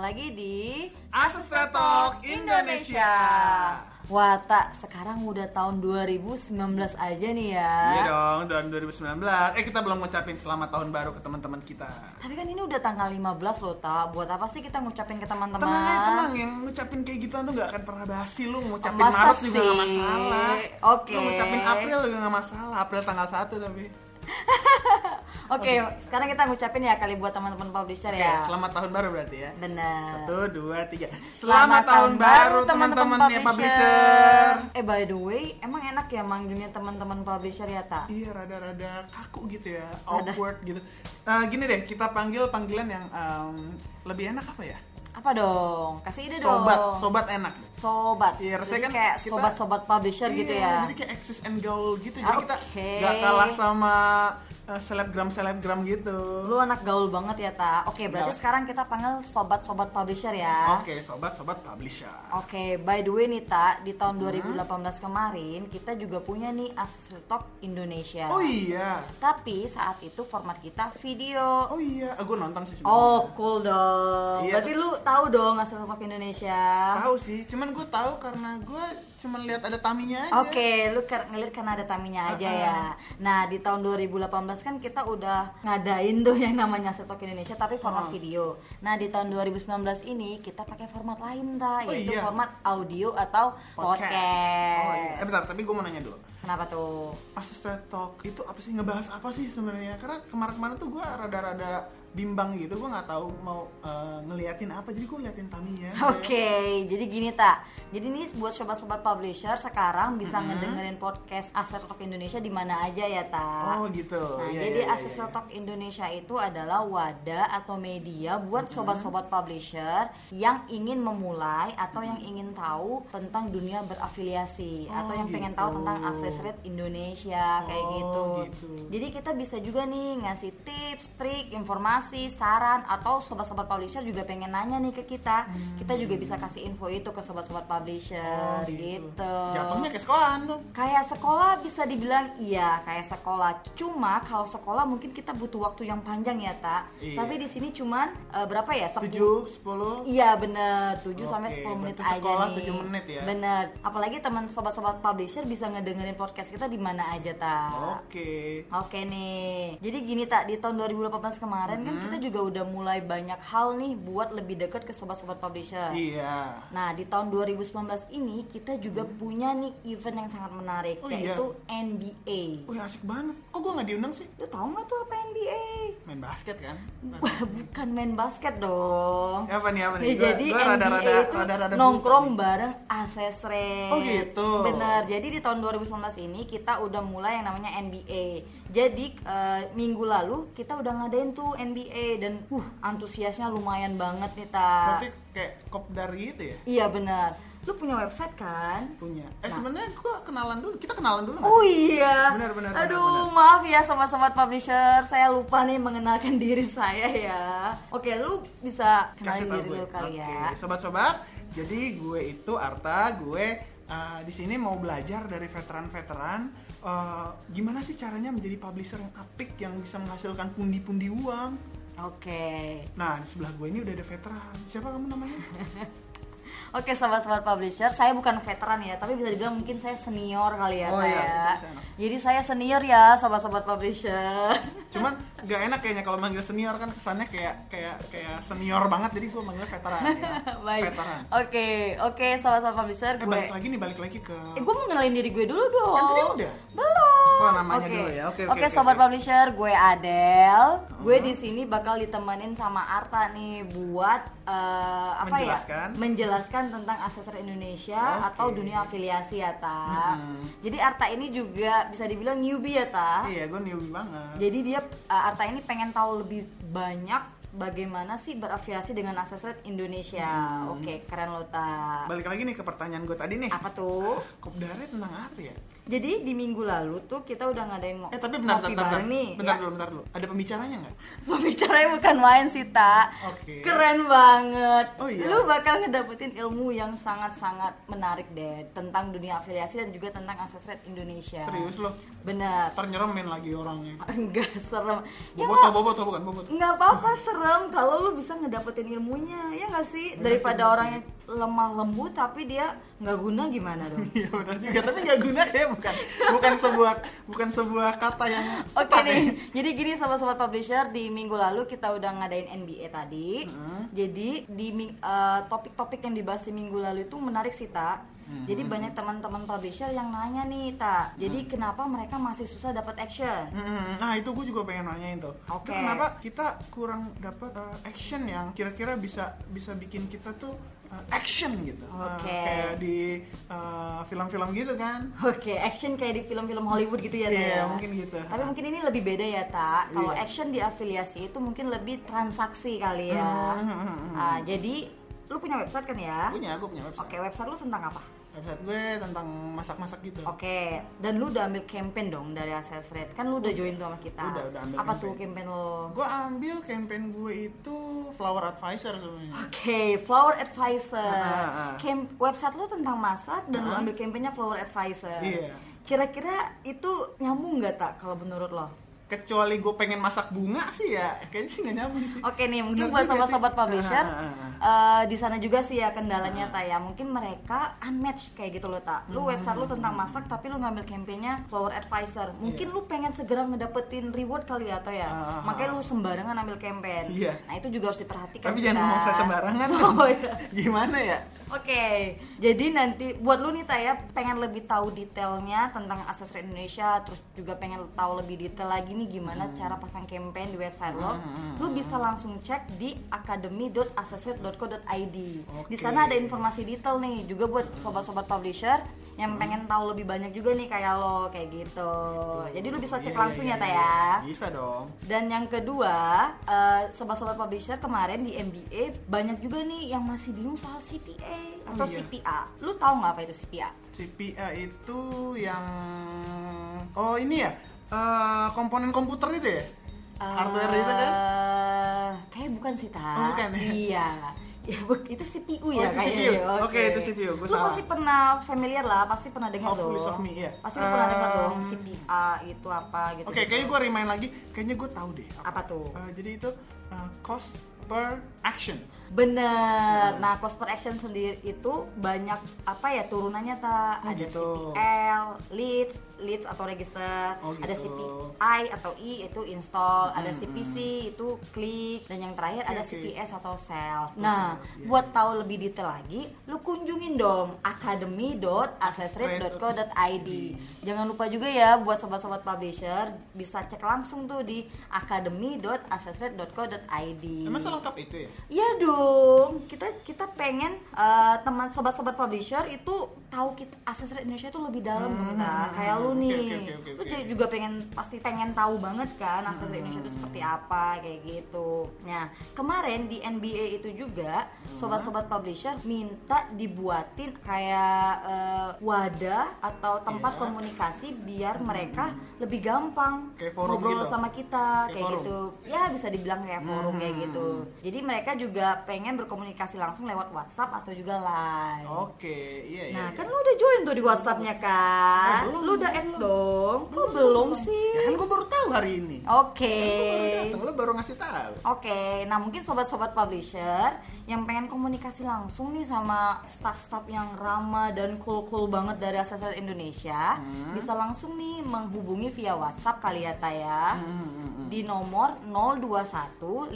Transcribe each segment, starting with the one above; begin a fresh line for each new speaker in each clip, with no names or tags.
lagi di
Asesretok Indonesia.
Wah tak, sekarang udah tahun 2019 aja nih ya
Iya dong, tahun 2019. Eh kita belum ngucapin selamat tahun baru ke teman-teman kita.
Tapi kan ini udah tanggal 15 loh tak, buat apa sih kita ngucapin ke teman-teman
Tenang aja, ya, tenang yang ngucapin kayak gitu tuh gak akan pernah basi lu ngucapin
Masa
Maret juga
sih?
gak masalah.
Oke.
Lu ngucapin April juga gak masalah. April tanggal 1 tapi.
Oke, sekarang kita ngucapin ya kali buat teman-teman publisher
Oke,
ya
selamat tahun baru berarti ya.
Bener
Satu, dua, tiga. Selamat, tahun baru teman-teman ya publisher.
Eh by the way, emang enak ya manggilnya teman-teman publisher ya tak?
Iya, rada-rada kaku gitu ya,
Rada.
awkward gitu. Eh, gini deh, kita panggil panggilan yang em, lebih enak apa ya?
Apa dong? Kasih ide
Sobat,
dong
sobat enak.
Sobat
Iya,
Jadi
rasanya kan
kayak
kita-
sobat-sobat publisher gitu
Iya,
ya
Jadi kayak access and gaul gitu. Jadi kita
Oke.
nggak kalah sama eh, selebgram-selebgram gitu.
Lu anak gaul banget ya Ta Oke berarti
Gaul.
sekarang kita panggil sobat-sobat publisher ya
Iya.
Oh,
Oke, sobat-sobat publisher.
Oke, by the way nih Ta, di
Mm-hmm.
tahun 2018 kemarin kita juga punya nih Asus Talk Indonesia.
Oh iya.
Tapi saat itu format kita video.
Oh iya, eh, gue nonton sih sebenarnya.
Oh, cool dong.
Iya.
Berarti lu tahu dong Asus Talk Indonesia.
Tahu sih, cuman gue tahu karena gue cuman lihat ada taminya aja.
Oke, lu ker- ngelir karena ada taminya aja
Uh-uh.
ya. Nah, di tahun 2018 kan kita udah ngadain tuh yang namanya Setok Indonesia tapi format
Hmm.
video. Nah, di tahun 2019 ini kita pakai format lain, Ta,
Oh,
yaitu
iya.
format audio atau podcast.
Oh iya. Eh bentar, tapi gue mau nanya dulu.
Kenapa tuh?
Asus Thread Talk itu apa sih ngebahas apa sih sebenarnya? Karena kemarin-kemarin tuh gue rada-rada bimbang gitu, gue nggak tahu mau eh, ngeliatin apa. Jadi gue ngeliatin ya. taminya.
Oke, jadi gini tak. Jadi ini buat sobat-sobat publisher sekarang bisa ngedengerin podcast Aset Talk Indonesia di mana aja ya tak.
Oh gitu.
Nah,
Iya,
jadi
iya, iya,
Asis
iya.
Talk Indonesia itu adalah wadah atau media buat sobat-sobat publisher yang ingin memulai atau yang ingin tahu tentang dunia berafiliasi
Oh,
atau yang pengen
gitu.
tahu tentang akses rate Indonesia kayak
Oh,
gitu.
gitu.
Jadi kita bisa juga nih ngasih tips, trik, informasi, saran atau sobat-sobat publisher juga pengen nanya nih ke kita. Kita juga bisa kasih info itu ke sobat-sobat publisher
Hmm. Oh,
gitu.
Jatuhnya ke sekolahan dong.
Kayak sekolah bisa dibilang iya, kayak sekolah. Cuma kalau sekolah mungkin kita butuh waktu yang panjang ya, Tak.
Iya.
Tapi di sini cuman eh, berapa ya? Sepuluh.
7, 10.
Iya bener, 7 sampai
Oke,
10 menit
berarti
aja
sekolah
nih.
7 menit ya.
Bener. Apalagi teman sobat-sobat publisher bisa ngedengerin podcast kita di mana aja, Tak.
Oke.
Oke nih, jadi gini tak di tahun 2018 kemarin
Mm-hmm.
kan kita juga udah mulai banyak hal nih buat lebih dekat ke sobat-sobat publisher.
Iya.
Nah, di tahun 2019 ini kita juga punya nih event yang sangat menarik
Hmm. Oh, iya.
yaitu NBA.
Wih asik banget. Kok gue nggak diundang sih?
Lu tahu nggak tuh apa NBA?
Main basket kan?
Wah, bukan main basket dong.
Apa nih apa nih?
Ya,
Gua-
jadi
gua
NBA
rada-rada-
itu
rada-rada
nongkrong
buta
bareng ases rate.
Oh, gitu.
Bener. Jadi di tahun 2019 ini kita udah mulai yang namanya NBA. Jadi eh, minggu lalu kita udah ngadain tuh NBA dan uh antusiasnya lumayan banget nih ta.
nih. Berarti kayak kopdar gitu ya?
Iya benar. Lu punya website kan?
Punya. Eh
Nah.
sebenarnya gue kenalan dulu. Kita kenalan dulu nggak?
Oh
sih?
iya.
Benar, benar, benar,
Aduh, maaf ya sobat-sobat publisher, saya lupa nih mengenalkan diri saya ya. Oke, lu bisa
Kasih
kenalin
tau
diri
gue.
lu
Oke,
kali ya.
sobat-sobat. Jadi gue itu Arta, gue eh, di sini mau belajar dari veteran-veteran eh, gimana sih caranya menjadi publisher yang apik yang bisa menghasilkan pundi-pundi uang.
Oke.
Nah, di sebelah gue ini udah ada veteran. Siapa kamu namanya?
Oke, sobat-sobat publisher, saya bukan veteran ya, tapi bisa dibilang mungkin saya senior kali ya,
Oh
Kak,
iya,
ya.
itu bisa enak.
Jadi saya senior ya, sobat-sobat publisher.
Cuman gak enak kayaknya kalau manggil senior kan kesannya kayak kayak kayak senior banget. Jadi gue manggil veteran ya.
Baik.
Veteran.
Oke, oke sobat-sobat publisher,
Eh,
gue
balik lagi nih, balik lagi ke
Eh, gue mau ngenalin diri gue dulu dong.
Kan tadi udah.
Belum.
Oh, namanya
Oke.
dulu ya. Oke, oke,
Oke,
oke, oke.
sobat
Hmm.
publisher, gue Adel. Gue di sini bakal ditemenin sama Arta nih buat eh, apa
Menjelaskan.
ya? Menjelaskan tentang asesor Indonesia
Oke.
atau dunia afiliasi ya, Ta.
Mm-mm.
Jadi Arta ini juga bisa dibilang newbie ya, Ta.
Iya, gue newbie banget.
Jadi dia uh, Arta ini pengen tahu lebih banyak bagaimana sih berafiliasi dengan asesor Indonesia.
Hmm.
Oke, keren lo, Ta.
Balik lagi nih ke pertanyaan gue tadi nih.
Apa tuh?
Kopdarnya tentang apa ya?
Jadi di minggu lalu tuh kita udah ngadain ngo-
Eh tapi bentar, bentar,
ngopi
bentar,
bareng nih.
bentar
Ya,
dulu, bentar dulu. Ada pembicaranya nggak?
Pembicaranya bukan main sih, Tak.
Oke.
Keren banget.
Oh, iya.
Lu bakal ngedapetin ilmu yang sangat-sangat menarik deh tentang dunia afiliasi dan juga tentang akses rate Indonesia.
Serius loh,
Bener.
ntar nyeremin lagi orangnya.
Enggak serem. Ya,
Boboto, boboto bukan boboto.
nggak apa-apa serem serem kalau lu bisa ngedapetin ilmunya ya nggak sih
Bener sih,
daripada
bener
orang yang lemah lembut tapi dia nggak guna gimana dong
Iya benar juga, tapi nggak guna ya bukan bukan sebuah bukan sebuah kata yang
Oke
tepat
nih,
ya.
jadi gini sobat-sobat publisher di minggu lalu kita udah ngadain NBA tadi.
Mm-hmm.
Jadi di ming- eh, topik-topik yang dibahas di minggu lalu itu menarik sih tak.
Mm-hmm.
Jadi banyak teman-teman publisher yang nanya nih tak. Jadi
Mm-hmm.
kenapa mereka masih susah dapat action?
Mm, Nah itu gue juga pengen nanyain tuh.
Oke.
Itu kenapa kita kurang dapat uh, action yang kira-kira bisa bisa bikin kita tuh uh, action gitu. Uh,
Oke.
kayak di uh, film-film gitu kan.
Oke, action kayak di film-film Hollywood gitu ya. Ta,
Iya,
ya?
mungkin gitu.
Tapi mungkin ini lebih beda ya tak. Kalau
Iya.
action di afiliasi itu mungkin lebih transaksi kali ya.
Hmm, hmm, hmm, hmm.
Ah, jadi lu punya website kan ya?
Punya, gue punya website.
Oke, website lu tentang apa?
Website gue tentang masak-masak gitu.
Oke, dan lu udah ambil campaign dong dari Access Rate. Kan lu udah join tuh sama kita.
Udah, udah ambil
Apa
campaign.
tuh campaign lo?
Gue ambil campaign gue itu flower advisor sebenarnya.
Oke, Flower Advisor.
Ah, ah, ah.
Camp- website lu tentang masak dan lu
Ah.
ambil campaignnya Flower Advisor.
Iya.
Kira-kira itu nyambung nggak tak kalau menurut lo?
Kecuali gue pengen masak bunga sih ya, kayaknya sih nggak nyambung sih.
Oke nih, mungkin
Bener
buat
juga
sobat-sobat
sih.
publisher
Ah, ah,
eh, di sana juga sih ya kendalanya tak ya. Mungkin mereka unmatched kayak gitu loh tak.
Hmm.
Lu website lu tentang masak tapi lu ngambil campaignnya Flower Advisor. Mungkin lu pengen segera ngedapetin reward kali ya atau ya.
Iya. Ah, ah,
Makanya lu sembarangan ambil campaign.
Iya.
Nah itu juga harus diperhatikan.
Tapi
sih,
jangan
Ta.
ngomong saya sembarangan.
Oh iya.
Gimana ya?
Oke, jadi nanti buat lu nih Taya pengen lebih tahu detailnya tentang akses Rate Indonesia, terus juga pengen tahu lebih detail lagi nih gimana
Hmm.
cara pasang campaign di website lo. Lu bisa langsung cek di academy.accessrate.co.id.
Oke.
Di sana ada informasi detail nih juga buat sobat-sobat publisher
Hmm.
yang pengen tahu lebih banyak juga nih kayak lo kayak gitu. Jadi lu bisa cek
Iya,
langsung
iya,
ya Taya.
iya, iya. Bisa dong.
Dan yang kedua, eh, sobat-sobat publisher kemarin di MBA banyak juga nih yang masih bingung soal CPA atau
Oh, iya.
CPA. Lu tahu nggak apa itu CPA?
CPA itu yang oh ini ya eh, komponen komputer itu ya hardware itu kan
Eh, Kayak bukan sih, Ta.
Oh, bukan ya?
Iya. Ya, bu- itu
Oh,
CPU ya
itu
kayaknya.
CPU. Oke, itu CPU. Gua
Lu
salah.
pasti pernah familiar lah, pasti pernah dengar
Hopefully of
dong.
me, iya.
Pasti lu pernah dengar dong
Um,
CPA itu apa gitu.
oke kayaknya gue remind lagi kayaknya gue tahu deh
Apa tuh?
Eh, jadi itu eh, cost per action
Bener. Nah, cost per action sendiri itu banyak apa ya turunannya ta?
Oh,
ada
gitu.
CPL, leads, leads atau register,
Oh, gitu.
ada CPI atau I itu install, ada CPC itu klik, dan yang terakhir
Oke,
ada
oke.
CPS atau sales.
Oh,
Nah,
sales, iya.
buat tahu lebih detail lagi, lu kunjungin dong academy.accessrate.co.id. Jangan lupa juga ya buat sobat-sobat publisher bisa cek langsung tuh di academy.accessrate.co.id.
emang selengkap itu ya
Iya dong, kita kita pengen eh, teman sobat-sobat publisher itu tahu kita akses rate Indonesia itu lebih dalam dong, Kak. kayak lu
Hmm. oke,
nih,
oke, oke, oke,
lu
oke. Hmm.
jadi juga pengen pasti pengen tahu banget kan akses rate Indonesia itu seperti apa kayak gitu. Nah kemarin di NBA itu juga
Hmm.
sobat-sobat publisher minta dibuatin kayak eh, wadah atau tempat
Iya. Hmm.
komunikasi biar mereka lebih gampang
Kayak forum
ngobrol
gitu.
sama kita
Kayak
kayak
forum.
gitu ya bisa dibilang kayak forum kayak
Hmm.
gitu jadi mereka juga pengen berkomunikasi langsung lewat WhatsApp atau juga live
oke iya iya
nah
iya.
kan lu udah join tuh di WhatsAppnya kan
Eh, belum,
lu udah add
belum.
dong kok belum sih
ya kan gue baru tahu hari ini Kan
oke
gua baru datang lo baru ngasih tahu
Oke, nah mungkin sobat-sobat publisher yang pengen komunikasi langsung nih sama staff-staff yang ramah dan cool-cool banget dari Asesor Indonesia
Hmm.
bisa langsung nih menghubungi via WhatsApp kali ya Taya
Hmm,
di nomor 021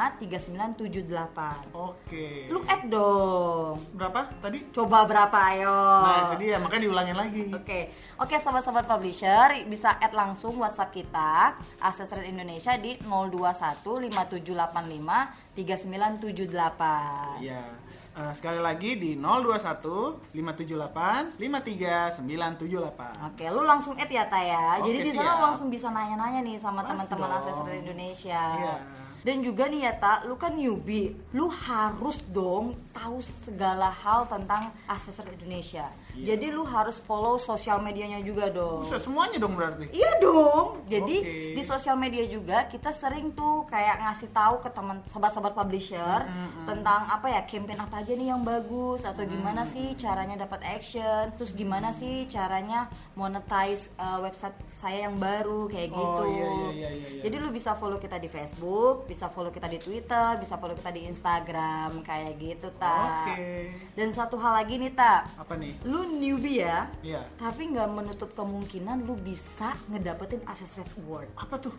5785 3978.
oke
Lu eh. add dong.
berapa tadi
Coba berapa ayo?
nah itu dia makanya diulangin lagi
Oh. Oke, oke sobat-sobat publisher bisa add langsung WhatsApp kita Akses Rate Indonesia di 021 5785 3978.
Ya. Eh, sekali lagi di 021 578 53978.
Oke, lu langsung add ya Taya.
Oke,
Jadi di sana
siap.
lu langsung bisa nanya-nanya nih sama
Pasti
teman-teman
dong.
Akses Rate Indonesia.
Iya.
Dan juga nih ya Ta, lu kan newbie, lu harus dong tahu segala hal tentang Akses Rate Indonesia.
Iya.
Jadi lu harus follow sosial medianya juga dong.
Bisa semuanya dong berarti.
Iya dong, Jadi
Oke.
di sosial media juga kita sering tuh kayak ngasih tahu ke teman sobat-sobat publisher tentang apa ya campaign apa aja nih yang bagus atau gimana sih caranya dapat action, terus gimana sih caranya monetize uh, website saya yang baru kayak
Oh,
gitu.
iya, iya, iya, iya, iya.
Jadi lu bisa follow kita di Facebook, bisa follow kita di Twitter, bisa follow kita di Instagram kayak gitu, Ta.
Oke.
Dan satu hal lagi nih, Ta.
Apa nih?
Lu newbie ya?
Iya.
Tapi nggak menutup kemungkinan lu bisa ngedapetin Access Rate Award.
Apa tuh?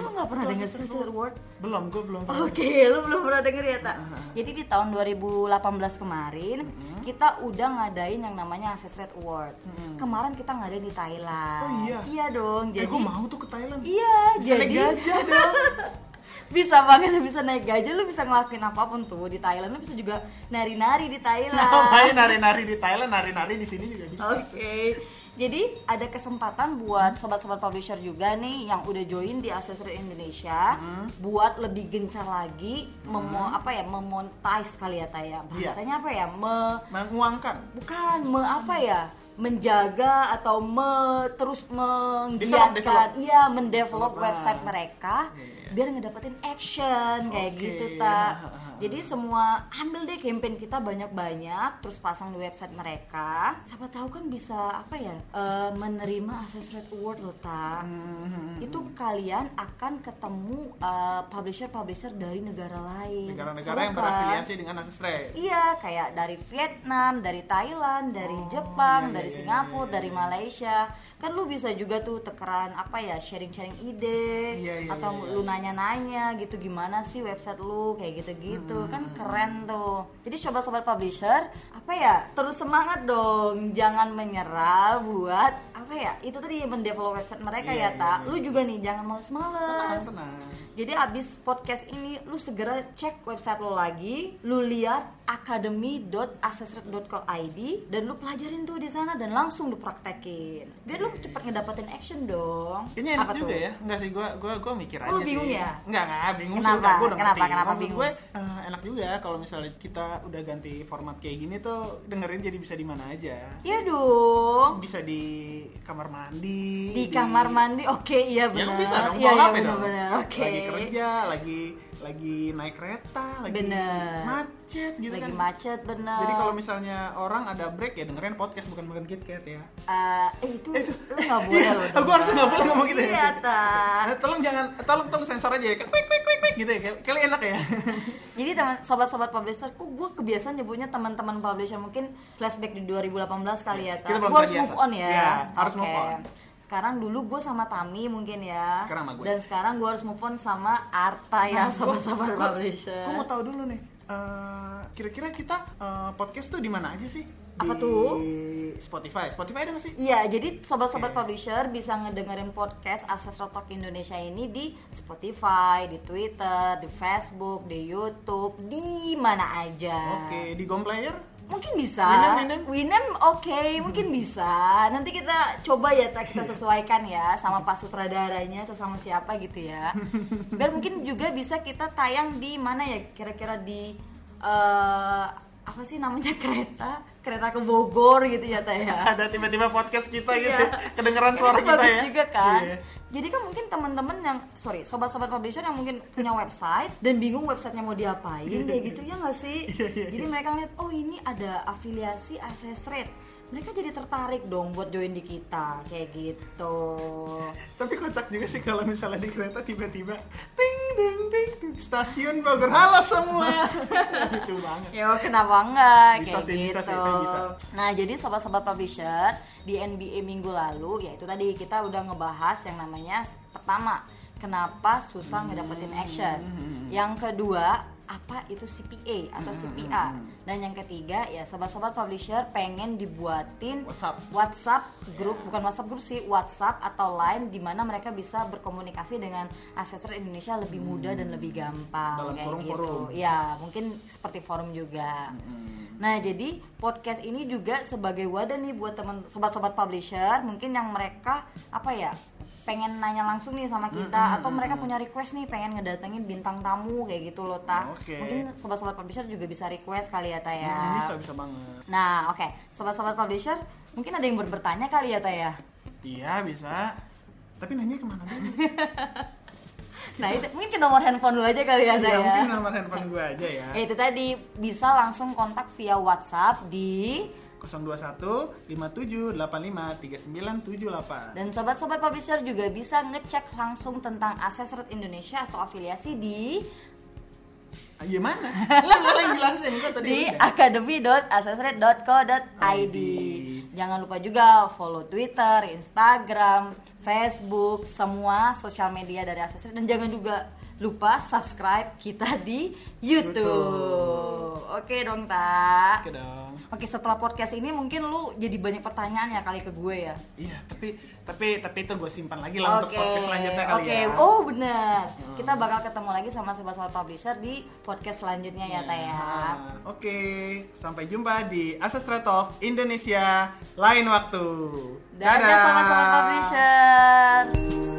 Waduh,
lu nggak pernah
itu
dengar
Assess
Access
Rate
Rate Award?
Award? Belum, gue belum pernah.
Oke, lu belum pernah denger ya, Tak? Jadi di tahun 2018 kemarin, kita udah ngadain yang namanya Access Rate Award. Kemarin kita ngadain di Thailand.
Oh, iya?
dong,
Eh,
jadi...
gue mau tuh ke Thailand.
Iya,
Bisa naik
jadi...
gajah dong.
bisa banget lu bisa naik gajah lu bisa ngelakuin apapun tuh di Thailand lu bisa juga nari-nari di Thailand
Nah, main nari-nari di Thailand, nari-nari di sini juga bisa.
Iya. Oke. Jadi ada kesempatan buat sobat-sobat publisher juga nih yang udah join di Accessory Indonesia buat lebih gencar lagi memo apa ya memonetize kali ya Taya. Bahasanya apa ya? Me-
Menguangkan.
bukan me apa ya? menjaga atau me, terus
develop.
menggiatkan iya mendevelop
Develop, ah.
website mereka
Iya.
biar ngedapetin action kayak
Oke.
gitu tak jadi semua ambil deh campaign kita banyak-banyak terus pasang di website mereka siapa tahu kan bisa apa ya eh, menerima access rate award loh tak
Hmm,
itu kalian akan ketemu eh, publisher-publisher dari negara lain
Negara-negara
Seru
yang
kan?
berafiliasi dengan Asestrade.
Iya, kayak dari Vietnam, dari Thailand, dari
Oh,
Jepang,
iya,
dari
iya,
Singapura,
iya, iya,
dari
iya.
Malaysia. Kan lu bisa juga tuh tekeran apa ya, sharing-sharing ide
Iya, iya,
atau
iya, iya.
lu nanya-nanya gitu gimana sih website lu kayak gitu-gitu.
Hmm.
Kan keren tuh. Jadi coba sobat publisher, apa ya? Terus semangat dong, jangan menyerah buat apa ya? Itu tadi mendevelop website mereka
Iya,
ya,
iya,
Tak.
iya.
Lu juga nih jangan
kan
males-males.
Senang-senang.
Jadi abis podcast ini lu segera cek website lo lagi, lu lihat academy.accessrate.co.id dan lu pelajarin tuh di sana dan langsung dipraktekin. Biar lu cepet ngedapetin action dong.
Kayaknya enak
Apa
juga
tuh?
ya. Enggak sih, gua gua gua mikir
Lu
aja sih.
bingung ya?
Enggak, enggak, bingung
Kenapa?
sih. udah, gua udah
Kenapa?
ngerti.
Kenapa
Maksud
bingung?
Gue eh, enak juga kalau misalnya kita udah ganti format kayak gini tuh dengerin jadi bisa di mana aja.
Iya dong.
Bisa di kamar mandi.
Di kamar mandi, oke iya
Iya. Ya
benar.
bisa dong,
iya,
bawa
iya,
HP dong.
benar-benar, Oke.
Lagi kerja, lagi lagi naik kereta, lagi
Bener.
macet gitu
Lagi
kan.
macet bener.
Jadi kalau misalnya orang ada break ya dengerin podcast bukan makan KitKat ya.
Eh, eh, itu, lu nggak boleh
Iya,
loh.
aku harusnya nggak boleh ngomong gitu ya.
Iya, tak.
Eh, tolong jangan, tolong tolong sensor aja ya. Quick quick quick quick gitu ya. Kali- Kali enak ya.
Jadi teman sobat-sobat publisher, kok gue kebiasaan nyebutnya teman-teman publisher mungkin flashback di 2018 kali ya.
Iya, Kita
Gue
belum
harus
terbiasa.
move on ya.
Iya, harus move
Oke.
on.
Sekarang dulu gue sama Tami mungkin ya.
Sekarang sama gue.
Dan sekarang gue harus move on sama Arta ya,
Nah, gua-
sobat-sobat
gua-
publisher.
Gua mau tahu dulu nih. eh, Kira-kira kita eh, podcast tuh di mana aja sih?
Apa
Di
tuh?
Spotify. Spotify ada nggak sih?
Iya, jadi sobat-sobat
Oke.
publisher bisa ngedengerin podcast Access Rotok Indonesia ini di Spotify, di Twitter, di Facebook, di YouTube, di mana aja.
Oke, di Gomplayer?
Mungkin bisa.
Winem, Winem? Hmm.
oke, mungkin bisa. Nanti kita coba ya, Ta, kita sesuaikan ya sama pas sutradaranya atau sama siapa gitu ya. Biar mungkin juga bisa kita tayang di mana ya kira-kira di eh, apa sih namanya kereta? Kereta ke Bogor gitu ya, Ta ya.
Ada tiba-tiba podcast kita gitu.
Iya.
Kedengeran
Kan
suara
itu
kita
bagus
ya.
juga kan.
Iya.
Jadi kan mungkin teman-teman yang sorry, sobat-sobat publisher yang mungkin punya website dan bingung websitenya mau diapain
Iya,
kayak gitu ya nggak sih? Jadi mereka ngeliat oh ini ada afiliasi access rate. Mereka jadi tertarik dong buat join di kita kayak gitu.
Tapi kocak juga sih kalau misalnya di kereta tiba-tiba ting ding ding ding stasiun Bogor halo semua. Lucu banget.
Ya kenapa enggak
Bisa
kayak
sih,
gitu.
bisa sih, itu bisa.
Nah, jadi sobat-sobat publisher di NBA minggu lalu ya itu tadi kita udah ngebahas yang namanya s- pertama, kenapa susah ngedapetin action.
Hmm,
Yang kedua, apa itu CPA atau
Hmm,
CPA. Dan yang ketiga, ya sobat-sobat publisher pengen dibuatin
WhatsApp.
WhatsApp grup bukan WhatsApp grup sih WhatsApp atau lain di mana mereka bisa berkomunikasi dengan asesor Indonesia lebih mudah dan lebih gampang
Hmm. Dalam
kayak gitu.
forum-forum.
Ya mungkin seperti forum juga. Nah jadi podcast ini juga sebagai wadah nih buat teman sobat-sobat publisher mungkin yang mereka apa ya pengen nanya langsung nih sama kita atau mereka punya request nih pengen ngedatengin bintang tamu kayak gitu loh ta.
Oke.
Mungkin sobat-sobat publisher juga bisa request kali ya ta ya.
Hmm, bisa bisa banget.
Nah, ya? oke, sobat-sobat publisher, mungkin ada yang bertanya kali ya, Taya.
Iya bisa. Tapi nanya kemana dulu?
Nah, itu mungkin ke nomor handphone lu aja kali ya, Nay,
ya,
ya.
mungkin nomor handphone gue aja ya.
Ya, itu tadi bisa langsung kontak via WhatsApp di
021 57 85 3978.
dan sobat-sobat publisher juga bisa ngecek langsung tentang Assessred Indonesia atau afiliasi di
Ah, Gimana? Lah, lu yang jelasin gua tadi.
di
udah.
academy.assessred.co.id. Jangan lupa juga follow Twitter, Instagram, Facebook, semua sosial media dari Assessred dan jangan juga lupa subscribe kita di YouTube.
YouTube.
Oke dong, Tak.
Oke dong.
Oke, setelah podcast ini mungkin lu jadi banyak pertanyaan ya kali ke gue ya.
Iya, tapi tapi tapi itu gue simpan lagi lah untuk podcast selanjutnya kali
oke.
ya. Hmm.
Oh, benar. Kita bakal ketemu lagi sama sobat-sobat publisher di podcast selanjutnya ya, Taya.
Nah, Oke, sampai jumpa di Asestra Talk Indonesia lain waktu.
Dadah, sobat-sobat publisher.